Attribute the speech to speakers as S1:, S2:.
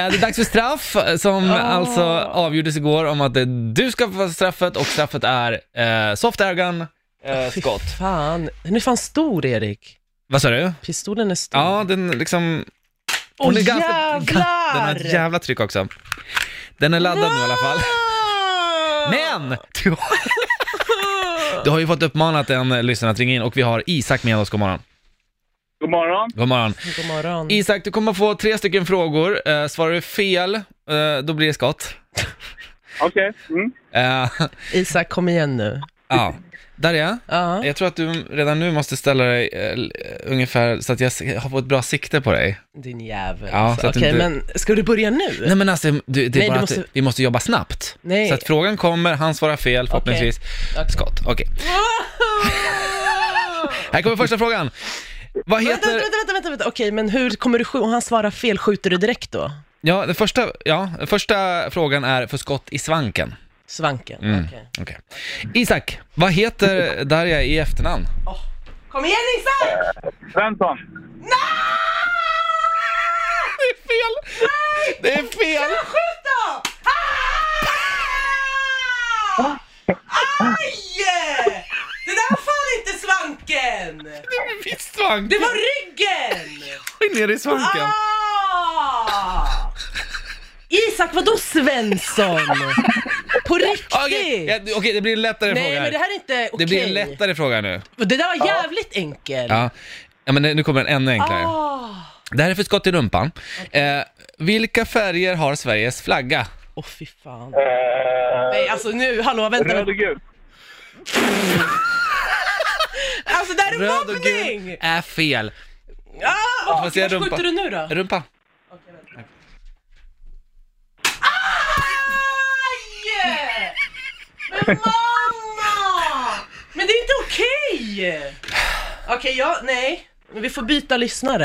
S1: Eh, Det är dags för straff som alltså avgjordes igår om att eh, du ska få straffet och straffet är eh, soft airgun, eh,
S2: Fy
S1: skott.
S2: Fan, den är fan stor Erik.
S1: Vad sa du?
S2: Pistolen är stor.
S1: Ja, den liksom...
S2: Åh
S1: är ganska-
S2: jävlar!
S1: Den har ett jävla tryck också. Den är laddad nu i alla fall. Men! Du har, du har ju fått uppmanat en eh, lyssnare att ringa in och vi har Isak med oss, god morgon.
S3: God morgon.
S1: God morgon.
S2: God morgon.
S1: Isak, du kommer få tre stycken frågor. Eh, svarar du fel, eh, då blir det skott.
S3: Okej. Mm.
S1: Eh,
S2: Isak, kom igen nu.
S1: ja. Darja,
S2: Ja.
S1: jag tror att du redan nu måste ställa dig eh, l- ungefär så att jag s- har fått ett bra sikte på dig.
S2: Din jävel.
S1: Ja,
S2: alltså.
S1: så att
S2: Okej,
S1: inte-
S2: men ska du börja nu?
S1: Nej men alltså, du, det är
S2: Nej,
S1: bara
S2: du
S1: att
S2: måste-
S1: vi måste jobba snabbt.
S2: Nej.
S1: Så att frågan kommer, han svarar fel förhoppningsvis.
S2: Okej.
S1: Skott, okej. Här kommer första frågan. Vad
S2: Vänta,
S1: heter...
S2: vänta, vänta, vänta, vänta. Okej, men hur kommer du skjuta? Om han svarar fel, skjuter du direkt då?
S1: Ja, den första, ja, den första frågan är för skott i svanken. Mm.
S2: Svanken? Okej.
S1: Okej. Isak, vad heter Darja i efternamn?
S2: Kom igen Isak!
S3: Svensson.
S1: Det är fel! Det är fel!
S2: Skjut då! Ah! Aj! Det där var fan inte svanken!
S1: Visst svank!
S2: Det var ryggen!
S1: ner i svanken!
S2: Ah! Isak, vadå Svensson? På riktigt?
S1: Okej, ja, okej, det blir en lättare
S2: Nej,
S1: fråga.
S2: men det här är inte
S1: Det
S2: okej.
S1: blir en lättare fråga nu.
S2: Det där var jävligt enkelt.
S1: Ja. ja, men nu kommer en ännu enklare.
S2: Ah.
S1: Det här är för skott i rumpan. Eh, vilka färger har Sveriges flagga?
S2: Åh fy fan.
S3: Eh,
S2: Nej alltså nu, hallå vänta.
S3: röd och gul.
S2: Alltså det här är mobbning!
S1: är fel.
S2: Ah,
S1: Vad
S2: vad
S1: säger
S2: vad
S1: rumpa?
S2: skjuter du nu då?
S1: Rumpa.
S2: Aj! Men mamma! Men det är inte okej! Okej, ja, nej. Men vi får byta lyssnare.